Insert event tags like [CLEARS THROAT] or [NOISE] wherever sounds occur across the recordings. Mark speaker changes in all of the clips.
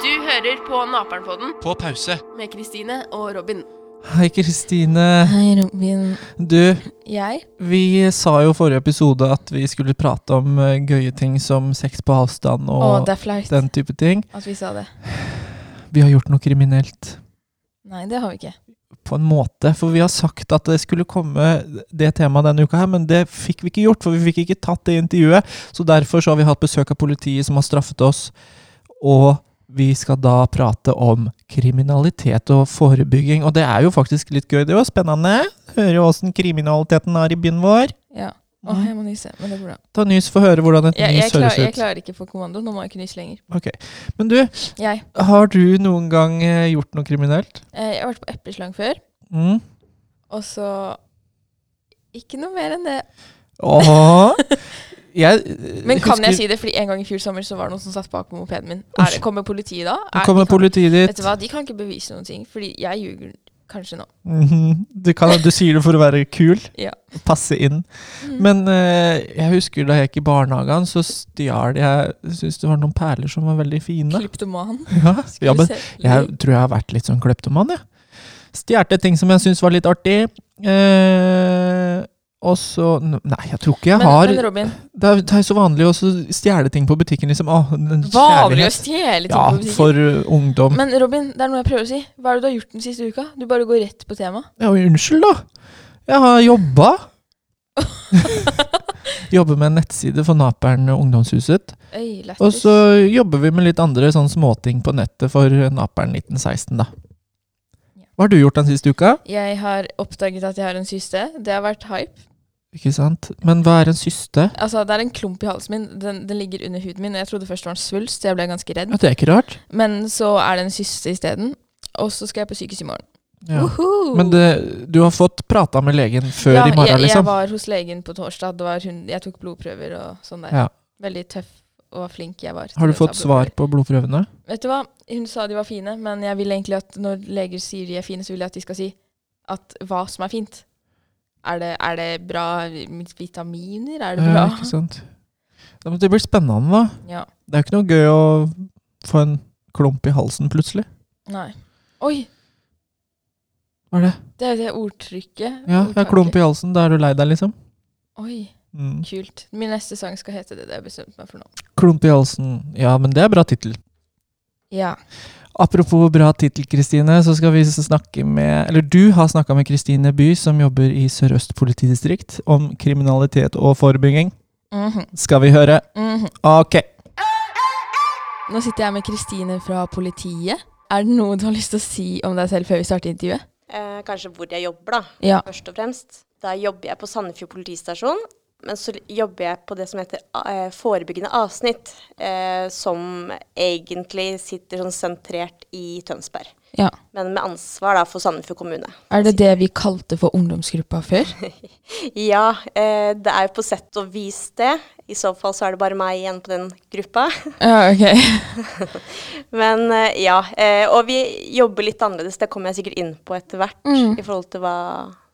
Speaker 1: Du hører på Naperen-podden
Speaker 2: På pause.
Speaker 1: med Kristine og Robin.
Speaker 3: Hei, Kristine.
Speaker 1: Hei, Robin.
Speaker 3: Du,
Speaker 1: Jeg?
Speaker 3: vi sa jo i forrige episode at vi skulle prate om eh, gøye ting som sex på avstand
Speaker 1: Å,
Speaker 3: og
Speaker 1: det er flaut
Speaker 3: den type ting.
Speaker 1: at vi sa det.
Speaker 3: Vi har gjort noe kriminelt.
Speaker 1: Nei, det har vi ikke.
Speaker 3: På en måte. For vi har sagt at det skulle komme det temaet denne uka her, men det fikk vi ikke gjort. For vi fikk ikke tatt det intervjuet. Så derfor så har vi hatt besøk av politiet som har straffet oss. Og vi skal da prate om kriminalitet og forebygging. Og det er jo faktisk litt gøy. Det er jo spennende. Høre åssen kriminaliteten er i byen vår.
Speaker 1: Ja. Å,
Speaker 3: Mhm.
Speaker 1: jeg må nyse, men det går bra.
Speaker 3: Ta nys, få høre hvordan et
Speaker 1: Jeg, jeg,
Speaker 3: nys
Speaker 1: klar,
Speaker 3: høres
Speaker 1: jeg
Speaker 3: ut.
Speaker 1: klarer ikke på kommando. Nå må jeg ikke nyse lenger.
Speaker 3: Ok. Men du,
Speaker 1: Jeg,
Speaker 3: har du noen gang eh, gjort noe kriminelt?
Speaker 1: eh, jeg har vært på epleslang før,
Speaker 3: Mm.
Speaker 1: og så Ikke noe mer enn det. [LAUGHS]
Speaker 3: Åh. Jeg eh,
Speaker 1: Men kan jeg si det? Fordi en gang i fjor sommer så var det noen som satt bak på mopeden min. Er det, kommer politiet da? Er,
Speaker 3: Nå kommer
Speaker 1: de kan,
Speaker 3: politiet
Speaker 1: vet
Speaker 3: dit.
Speaker 1: du hva, de kan ikke bevise noen ting, fordi jeg ljuger kanskje nå.
Speaker 3: Mhm. du, kan, du sier det for å være kul.
Speaker 1: Ja.
Speaker 3: Passe inn.
Speaker 1: Mhm.
Speaker 3: Mm. Men eh, jeg husker da jeg gikk i barnehagen, så stjal jeg Jeg syns det var noen perler som var veldig fine.
Speaker 1: Klyptoman.
Speaker 3: Ja, eh, ja men
Speaker 1: Jeg,
Speaker 3: Jeg tror jeg har vært litt sånn kleptoman, jeg. Stjerte ting som jeg syns var litt artig. Eh, og så Nei, jeg tror ikke jeg
Speaker 1: men,
Speaker 3: har
Speaker 1: men Robin,
Speaker 3: det, er, det er så vanlig å så stjele ting på butikken, liksom. Åh, den
Speaker 1: vanlig å
Speaker 3: kjærlighet.
Speaker 1: stjele ting
Speaker 3: Ja,
Speaker 1: på butikken.
Speaker 3: for uh, ungdom.
Speaker 1: Men Robin, det er noe jeg prøver å si. Hva er det du har gjort den siste uka? Du bare går rett på tema.
Speaker 3: Ja, unnskyld, da. Jeg har jobba.
Speaker 1: [LAUGHS]
Speaker 3: jobber med en nettside for Naperen ungdomshuset.
Speaker 1: Øy, lættis.
Speaker 3: Og så jobber vi med litt andre sånn småting på nettet for Naperen 1916, da. Hva har du gjort den siste uka?
Speaker 1: Jeg har oppdaget at jeg har en syste. Det har vært hype.
Speaker 3: Ikke sant? Men hva er en syste?
Speaker 1: Altså, det er en klump i halsen min. Den, den ligger under huden min. Og jeg trodde først det var en svulst, så jeg ble ganske redd.
Speaker 3: Ja, det er ikke rart.
Speaker 1: Men så er det en syste isteden. Og så skal jeg på sykehus i morgen.
Speaker 3: Ja.
Speaker 1: Woohoo!
Speaker 3: Men det, du har fått prata med legen før
Speaker 1: Uhuh. ja,
Speaker 3: i morgen,
Speaker 1: jeg, jeg
Speaker 3: liksom?
Speaker 1: var hos legen på torsdag. Det var hun, jeg tok blodprøver og sånn der.
Speaker 3: Ja.
Speaker 1: Veldig tøff og flink jeg var. til
Speaker 3: Har du
Speaker 1: å ta
Speaker 3: fått svar
Speaker 1: blodprøver.
Speaker 3: på blodprøvene?
Speaker 1: Vet du hva? Hun sa de var fine, men jeg vil egentlig at når leger sier de er fine, så vil jeg at de skal si at hva som er fint. Er det, er det bra vitaminer? Er det bra?
Speaker 3: Ja, ikke sant? Ja, men det blir spennende, da.
Speaker 1: Ja.
Speaker 3: Det er jo ikke noe gøy å få en klump i halsen plutselig.
Speaker 1: Nei. Oi!
Speaker 3: Hva er det?
Speaker 1: Det er det ordtrykket.
Speaker 3: Ja, jeg har klump i halsen. Da er du lei deg, liksom.
Speaker 1: Oi,
Speaker 3: Mm.
Speaker 1: kult. Min neste sang skal hete det. Det har jeg bestemt meg for nå.
Speaker 3: Klump i halsen. Ja, men det er bra tittel.
Speaker 1: Ja.
Speaker 3: Apropos bra tittel, Kristine, så skal vi snakke med Eller du har snakka med Kristine By, som jobber i Sør-Øst politidistrikt, om kriminalitet og forebygging.
Speaker 1: Mhm,
Speaker 3: Skal vi høre?
Speaker 1: mhm.
Speaker 3: Ok.
Speaker 1: Nå sitter jeg med Kristine fra politiet. Er det noe du har lyst til å si om deg selv før vi starter intervjuet?
Speaker 4: Eh, kanskje hvor jeg jobber, da.
Speaker 1: Ja.
Speaker 4: Først og fremst. Da jobber jeg på Sandefjord politistasjon. Men så jobber jeg på det som heter eh, forebyggende avsnitt, eh, som egentlig sitter sånn sentrert i Tønsberg.
Speaker 1: ja.
Speaker 4: Men med ansvar da for Sandefjord kommune.
Speaker 1: Er det det vi kalte for ungdomsgruppa før?
Speaker 4: Ja, eh, det er jo på sett og vis det. I så fall så er det bare meg igjen på den gruppa.
Speaker 1: [LAUGHS]
Speaker 4: [LAUGHS]
Speaker 1: Ja, ok.
Speaker 4: Men eh, ja. Eh, og vi jobber litt annerledes, det kommer jeg sikkert inn på etter hvert,
Speaker 1: Mm.
Speaker 4: i forhold til hva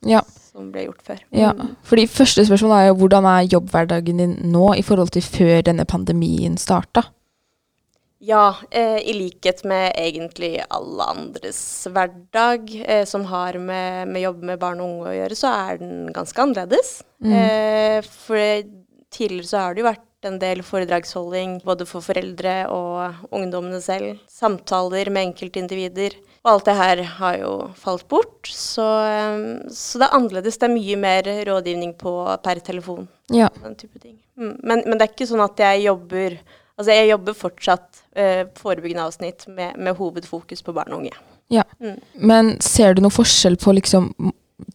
Speaker 1: Ja.
Speaker 4: som ble gjort før.
Speaker 1: ja.
Speaker 4: Mm.
Speaker 1: Fordi første spørsmål er jo hvordan er jobbhverdagen din nå i forhold til før denne pandemien starta?
Speaker 4: Ja, eh, i likhet med egentlig alle andres hverdag eh, som har med, med jobb med barn og unge å gjøre, så er den ganske annerledes. Eh, for tidligere så har det jo vært en del foredragsholding både for foreldre og ungdommene selv. Samtaler med enkeltindivider. Og alt det her har jo falt bort. Så, eh, så det er annerledes. Det er mye mer rådgivning på per telefon
Speaker 1: Ja.
Speaker 4: den type ting. Mm. Men, men det er ikke sånn at jeg jobber Altså, jeg jobber fortsatt eh, forebyggende avsnitt med, med hovedfokus på barn og unge.
Speaker 1: Ja.
Speaker 4: Mm.
Speaker 1: Men ser du noen forskjell på liksom m-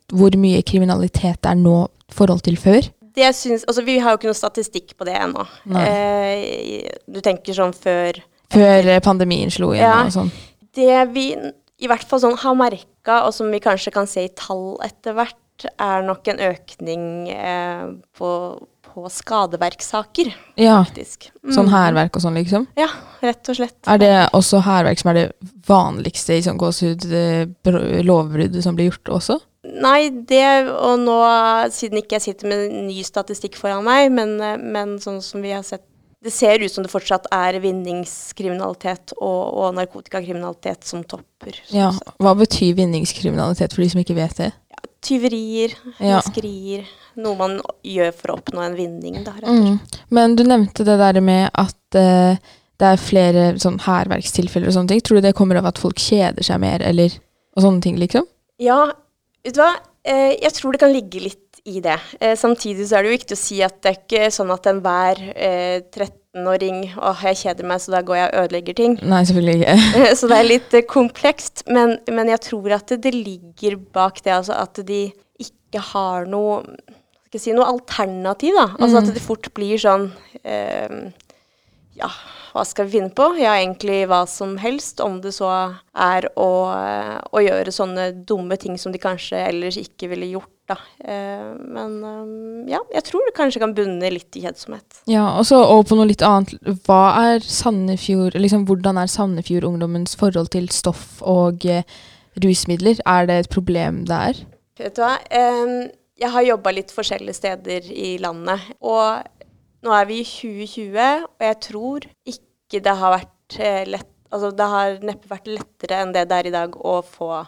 Speaker 1: hvor mye kriminalitet det er nå i forhold til før?
Speaker 4: Det jeg syns Altså, vi har jo ikke noe statistikk på det ennå.
Speaker 1: Nei.
Speaker 4: Eh, du tenker sånn før
Speaker 1: Før eh, pandemien slo igjen
Speaker 4: Ja.
Speaker 1: og sånn.
Speaker 4: Det vi i hvert fall sånn har merka, og som vi kanskje kan se i tall etter hvert, er nok en økning eh, på, på på skadeverkssaker,
Speaker 1: Ja,
Speaker 4: faktisk. Mm.
Speaker 1: Sånn hærverk og sånn, liksom?
Speaker 4: Ja, rett og slett.
Speaker 1: Er det også hærverk som er det vanligste i sånn gåsehud, eh, br- lovbrudd som blir gjort også?
Speaker 4: Nei, det Og nå, siden ikke jeg sitter med ny statistikk foran meg, men, eh, men sånn som vi har sett Det ser ut som det fortsatt er vinningskriminalitet og, og narkotikakriminalitet som topper. sånn
Speaker 1: Ja.
Speaker 4: sett.
Speaker 1: Hva betyr vinningskriminalitet for de som ikke vet det?
Speaker 4: Tyverier,
Speaker 1: Ja.
Speaker 4: menneskerier. Noe man gjør for å oppnå en vinning, da, rett og
Speaker 1: Mm.
Speaker 4: slett.
Speaker 1: Men du nevnte det der med at eh, det er flere sånn hærverkstilfeller og sånne ting. Tror du det kommer av at folk kjeder seg mer, eller og sånne ting, liksom?
Speaker 4: Ja, vet du hva? Eh, jeg tror det kan ligge litt i det. Eh, samtidig så er det jo viktig å si at det er ikke sånn at enhver eh, 13-åring åh, jeg kjeder meg, så da går jeg og ødelegger ting.
Speaker 1: Nei, selvfølgelig ikke.
Speaker 4: så det er litt eh, komplekst. Men, men jeg tror at det, det ligger bak det altså at de ikke har noe skal jeg si, noe alternativ. da. Altså At det fort blir sånn eh, Ja, hva skal vi finne på? Ja, egentlig hva som helst. Om det så er å, eh, å gjøre sånne dumme ting som de kanskje ellers ikke ville gjort. da. Eh, men eh, ja, jeg tror det kanskje kan bunne litt i kjedsomhet.
Speaker 1: Ja, og så over på noe litt annet. Hva er Sandefjord, liksom Hvordan er Sandefjord-ungdommens forhold til stoff og eh, rusmidler? Er det et problem der?
Speaker 4: Vet du hva? Em, Jeg har jobba litt forskjellige steder i landet. Og nå er vi i 2020, og jeg tror ikke det har vært eh, lett Altså det har neppe vært lettere enn det det er i dag å få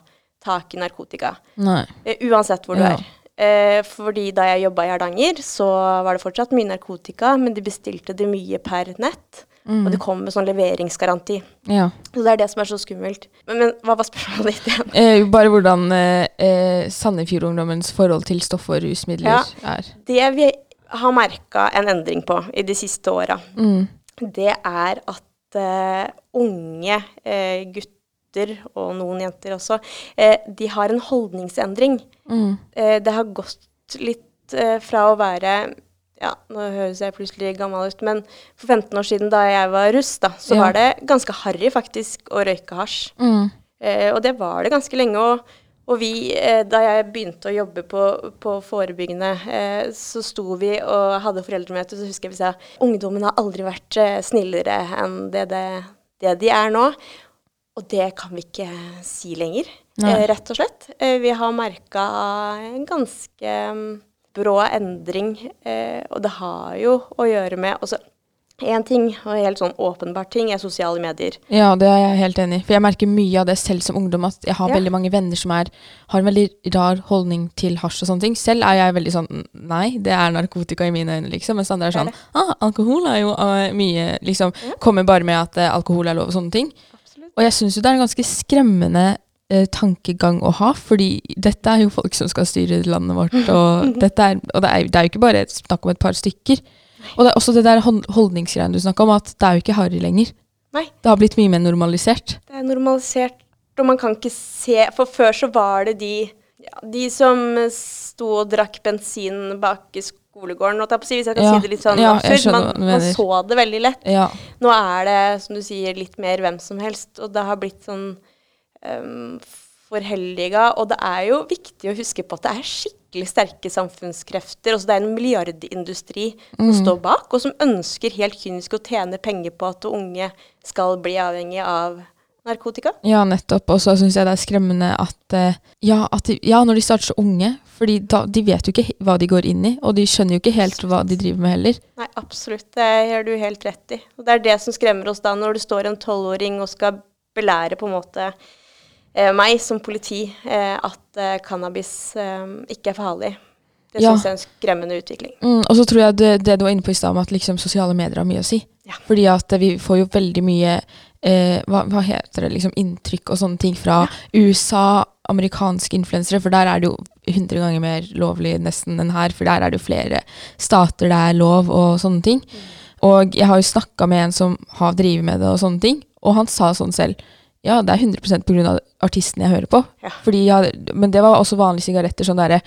Speaker 4: tak i narkotika.
Speaker 1: Nei.
Speaker 4: Eh, Uansett hvor du
Speaker 1: Ja.
Speaker 4: er. Eh, Fordi da jeg jobba i Hardanger, så var det fortsatt mye narkotika, men de bestilte det mye per nett. Og det kom med sånn leveringsgaranti.
Speaker 1: Ja.
Speaker 4: Så det er det som er så skummelt. Men, men hva var spørsmålet ditt igjen?
Speaker 1: Eh, bare hvordan eh, eh, Sandefjord-ungdommens forhold til stoff og rusmidler
Speaker 4: Ja.
Speaker 1: er.
Speaker 4: Det vi har merka en endring på i de siste åra,
Speaker 1: Mm,
Speaker 4: det er at eh, unge eh, gutter, og noen jenter også, eh, de har en holdningsendring.
Speaker 1: mm,
Speaker 4: Eh, det har gått litt eh, fra å være ja, Nå høres jeg plutselig gammel ut, men for 15 år siden, da jeg var russ, da, så
Speaker 1: Ja.
Speaker 4: var det ganske harry faktisk å røyke hasj.
Speaker 1: mm.
Speaker 4: Eh, og det var det ganske lenge. Og, og vi, eh, da jeg begynte å jobbe på, på forebyggende, eh, så sto vi og hadde foreldremøte, så husker jeg vi sa ungdommen har aldri vært eh, snillere enn det, det, det de er nå. Og det kan vi ikke si lenger,
Speaker 1: Nei.
Speaker 4: eh, rett og slett. Eh, vi har merka en ganske mm, brå endring, eh, og det har jo å gjøre med også Én ting, og helt sånn åpenbart ting, er sosiale medier.
Speaker 1: Ja, det er jeg helt enig i. For jeg merker mye av det selv som ungdom. At jeg har
Speaker 4: Ja.
Speaker 1: veldig mange venner som er, har en veldig rar holdning til hasj og sånne ting. Selv er jeg veldig sånn Nei, det er narkotika i mine øyne, liksom. Mens andre er sånn Ah, alkohol er jo eh, mye Liksom. Kommer bare med at eh, alkohol er lov og sånne ting. Og jeg syns jo det er en ganske skremmende eh, tankegang å ha, fordi dette er jo folk som skal styre landet vårt, og, dette er, og det, er, det er jo ikke bare et snakk om et par stykker. Og det er også det der hånd- holdningsgreiene du snakka om, at det er jo ikke harry lenger.
Speaker 4: Nei.
Speaker 1: Det har blitt mye mer normalisert.
Speaker 4: Det er normalisert, og man kan ikke se For før så var det de, ja, de som sto og drakk bensin bak i skolegården, holdt jeg på å si, hvis jeg kan
Speaker 1: Ja,
Speaker 4: si det litt sånn
Speaker 1: ja, jeg
Speaker 4: absurd.
Speaker 1: skjønner
Speaker 4: Man,
Speaker 1: hva du
Speaker 4: man
Speaker 1: mener.
Speaker 4: så det veldig lett.
Speaker 1: Ja.
Speaker 4: Nå er det, som du sier, litt mer hvem som helst, og det har blitt sånn um, for helliga. Og det er jo viktig å huske på at det er skikkelig sterke samfunnskrefter. Altså det er en milliardindustri som står bak, og som ønsker helt kynisk å tjene penger på at unge skal bli avhengig av narkotika.
Speaker 1: Ja, nettopp. Og så syns jeg det er skremmende at, eh, ja, at de, ja, når de starter så unge fordi da, De vet jo ikke he- hva de går inn i, og de skjønner jo ikke helt hva de driver med heller.
Speaker 4: Nei, absolutt. Det gjør du helt rett i. Og det er det som skremmer oss da, når det står en tolvåring og skal belære på en måte eh, meg som politi eh, at eh, cannabis eh, ikke er farlig. Det
Speaker 1: Ja.
Speaker 4: syns jeg er en skremmende utvikling.
Speaker 1: Mm, og så tror jeg det, det du var inne på i stad, om at liksom sosiale medier har mye å si.
Speaker 4: Ja.
Speaker 1: Fordi at eh, vi får jo veldig mye eh, hva, hva heter det, liksom inntrykk og sånne ting fra USA, amerikanske influensere, for der er det jo 100 ganger mer lovlig nesten enn her, for der er det jo flere stater det er lov og sånne ting. Og jeg har jo snakka med en som har drevet med det og sånne ting, og han sa sånn selv ja, det er 100 pga. artisten jeg hører på.
Speaker 4: Ja.
Speaker 1: Fordi jeg, men det var også vanlige sigaretter. sånn derre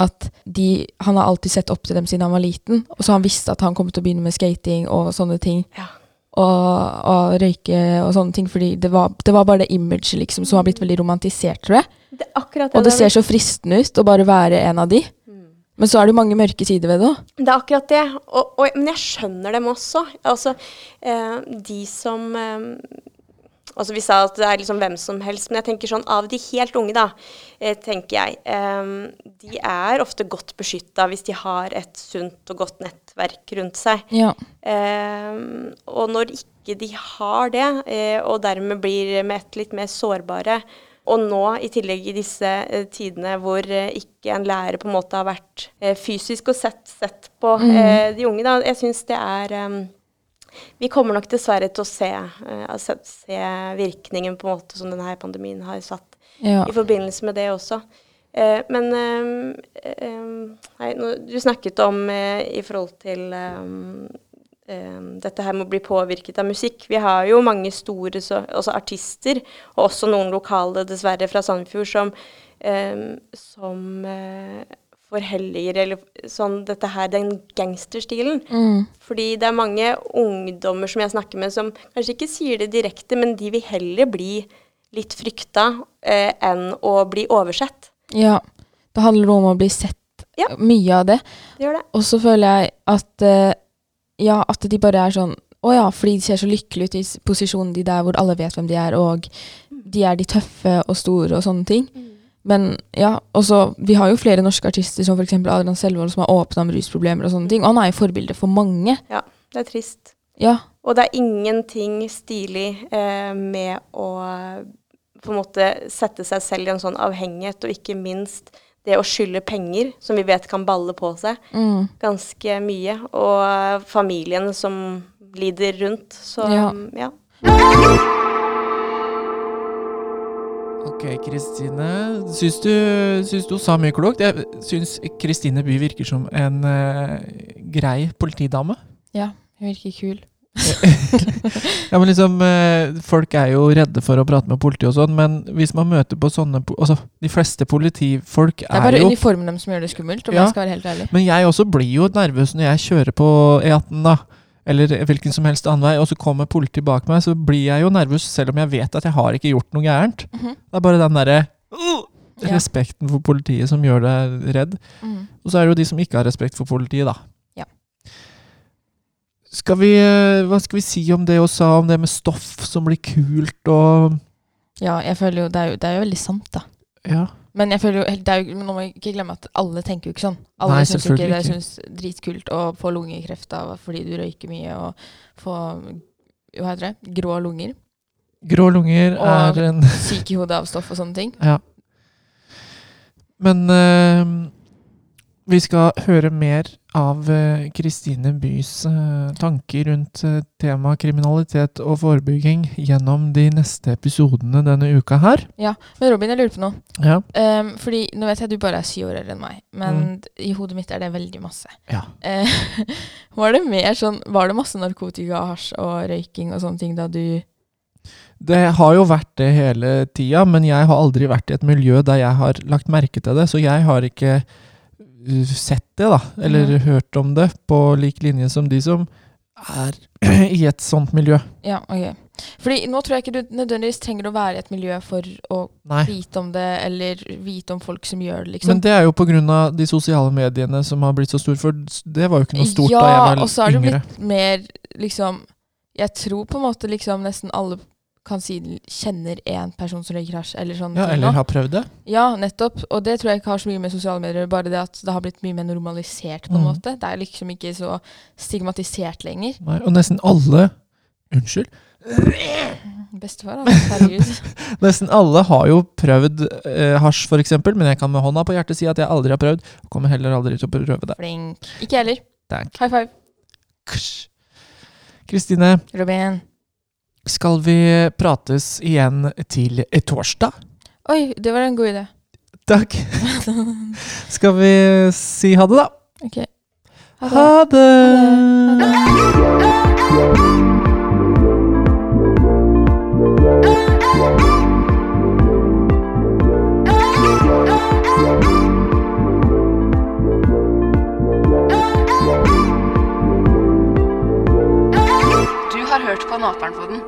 Speaker 1: at de, Han har alltid sett opp til dem siden han var liten, og så han visste at han kom til å begynne med skating og sånne ting
Speaker 4: Ja.
Speaker 1: og, og røyke og sånne ting. Fordi det var, det var bare det imaget liksom, som har blitt veldig romantisert, tror jeg.
Speaker 4: Det er Mm. akkurat
Speaker 1: Og det ser så fristende ut å bare være en av de. Men så er det jo mange mørke sider ved det òg.
Speaker 4: Det er akkurat det. Og, og, men jeg skjønner dem også. Altså, eh, de som eh, Altså, vi sa at det er liksom hvem som helst, men jeg tenker sånn av de helt unge, da, eh, tenker jeg eh, De er ofte godt beskytta hvis de har et sunt og godt nettverk rundt seg.
Speaker 1: Ja.
Speaker 4: Eh, og når ikke de har det, eh, og dermed blir med ett litt mer sårbare, og nå i tillegg i disse eh, tidene hvor eh, ikke en lærer på en måte har vært eh, fysisk og sett, sett på eh, de unge, da, jeg syns det er eh, vi kommer nok dessverre til å se, eh, altså, se virkningen på en måte som denne pandemien har satt
Speaker 1: Ja.
Speaker 4: i forbindelse med det også. Eh, men ehm, ehm, nei, nå- du snakket om eh, i forhold til ehm, ehm, dette her med å bli påvirket av musikk. Vi har jo mange store så, også artister, og også noen lokale dessverre fra Sandefjord, som, ehm, som eh, forhelliger eller sånn dette her, den gangsterstilen.
Speaker 1: Mm.
Speaker 4: Fordi det er mange ungdommer som jeg snakker med, som kanskje ikke sier det direkte, men de vil heller bli litt frykta eh, enn å bli oversett.
Speaker 1: ja. Det handler om å bli sett,
Speaker 4: Ja.
Speaker 1: mye av det.
Speaker 4: Det gjør det.
Speaker 1: Og så føler jeg at eh, Ja, at de bare er sånn Å ja, fordi de ser så lykkelige ut i s- posisjonen de der hvor alle vet hvem de er, og de er de tøffe og store og sånne ting. Men ja, og så Vi har jo flere norske artister som f.eks. Adrian Selvold, som har åpna om rusproblemer og sånne ting. Og han er jo forbilde for mange.
Speaker 4: Ja, det er trist.
Speaker 1: Ja.
Speaker 4: Og det er ingenting stilig eh, med å på en måte sette seg selv i en sånn avhengighet, og ikke minst det å skylde penger, som vi vet kan balle på seg
Speaker 1: Mm.
Speaker 4: ganske mye, og familien som lider rundt. Så
Speaker 1: Ja.
Speaker 4: ja.
Speaker 3: Ok, Kristine. Syns du, syns du hun sa mye klokt? Jeg syns Kristine By virker som en eh, grei politidame.
Speaker 1: ja. Hun virker kul.
Speaker 3: Ja, men liksom, eh, Folk er jo redde for å prate med politi og sånn, men hvis man møter på sånne po- altså, De fleste politifolk
Speaker 1: Det er
Speaker 3: er,
Speaker 1: bare
Speaker 3: jo
Speaker 1: uniformen dem som gjør det skummelt, om
Speaker 3: Ja.
Speaker 1: jeg skal være helt ærlig.
Speaker 3: Men jeg også blir jo nervøs når jeg kjører på E18, da. Eller hvilken som helst annen vei, og så kommer politiet bak meg, så blir jeg jo nervøs, selv om jeg vet at jeg har ikke gjort noe gærent.
Speaker 1: Mhm.
Speaker 3: Det er bare den derre
Speaker 1: Ja.
Speaker 3: respekten for politiet som gjør deg redd.
Speaker 1: Mm.
Speaker 3: Og så er det jo de som ikke har respekt for politiet, da.
Speaker 1: Ja.
Speaker 3: Skal vi, eh, hva skal vi si om det hun sa om det med stoff som blir kult og
Speaker 1: Ja, jeg føler jo det, er jo det er jo veldig sant, da.
Speaker 3: Ja.
Speaker 1: Men jeg føler jo, helt- det er jo, men nå må jeg ikke glemme at alle tenker jo ikke sånn. Alle
Speaker 3: Nei,
Speaker 1: syns ikke
Speaker 3: selvfølgelig
Speaker 1: det
Speaker 3: ikke.
Speaker 1: synes dritkult å få lungekreft av fordi du røyker mye og få hva heter det, grå lunger.
Speaker 3: Grå lunger
Speaker 1: Og-
Speaker 3: er en
Speaker 1: [LAUGHS] Syk i hodet av stoff og sånne ting.
Speaker 3: [LAUGHS] Ja. Men eh, vi skal høre mer av eh, Kristine Bys eh, tanker rundt eh, temaet kriminalitet og forebygging gjennom de neste episodene denne uka her.
Speaker 1: Men Robin, jeg lurer på noe.
Speaker 3: Ja.
Speaker 1: Um, fordi nå vet jeg at du bare er syv år eldre enn meg, men
Speaker 3: Mm.
Speaker 1: d- i hodet mitt er det veldig masse.
Speaker 3: Ja.
Speaker 1: Eh, [LAUGHS] var det mer sånn, var det masse narkotika, hasj og røyking og sånne ting da du
Speaker 3: Det har jo vært det hele tida, men jeg har aldri vært i et miljø der jeg har lagt merke til det, så jeg har ikke uh, sett det, da, eller
Speaker 1: Mhm.
Speaker 3: hørt om det, på lik linje som de som er [CLEARS THROAT] i et sånt miljø.
Speaker 1: Ja, ok. Fordi nå tror jeg ikke du nødvendigvis trenger å være i et miljø for å
Speaker 3: Nei.
Speaker 1: vite om det, eller vite om folk som gjør det, liksom.
Speaker 3: Men det er jo på grunn av de sosiale mediene som har blitt så store, for det var jo ikke noe stort
Speaker 1: ja,
Speaker 3: da jeg
Speaker 1: og så har
Speaker 3: var
Speaker 1: det
Speaker 3: yngre.
Speaker 1: blitt mer liksom Jeg tror på en måte liksom nesten alle kan si de kjenner én person som røyker hasj, eller sånn.
Speaker 3: Ja,
Speaker 1: ting nå.
Speaker 3: eller har prøvd det.
Speaker 1: ja, nettopp. Og det tror jeg ikke har så mye med sosiale medier å gjøre, bare det at det har blitt mye mer normalisert, på en
Speaker 3: Mm.
Speaker 1: måte. Det er liksom ikke så stigmatisert lenger.
Speaker 3: Nei, og nesten alle Unnskyld.
Speaker 1: Bestefar, altså. Herregud.
Speaker 3: Nesten alle har jo prøvd eh, hasj, for eksempel, men jeg kan med hånda på hjertet si at jeg aldri har prøvd, og kommer heller aldri til å prøve det.
Speaker 1: Flink. Ikke jeg heller.
Speaker 3: Takk.
Speaker 1: High five.
Speaker 3: Ksh. Kristine,
Speaker 1: Robin.
Speaker 3: skal vi prates igjen til torsdag?
Speaker 1: Oi, det var en god idé.
Speaker 3: Takk. Skal vi si ha det, da?
Speaker 1: [LAUGHS] Ok. Ha det.
Speaker 3: Ha
Speaker 1: Ha
Speaker 3: det!
Speaker 2: Du har hørt på Naperen på den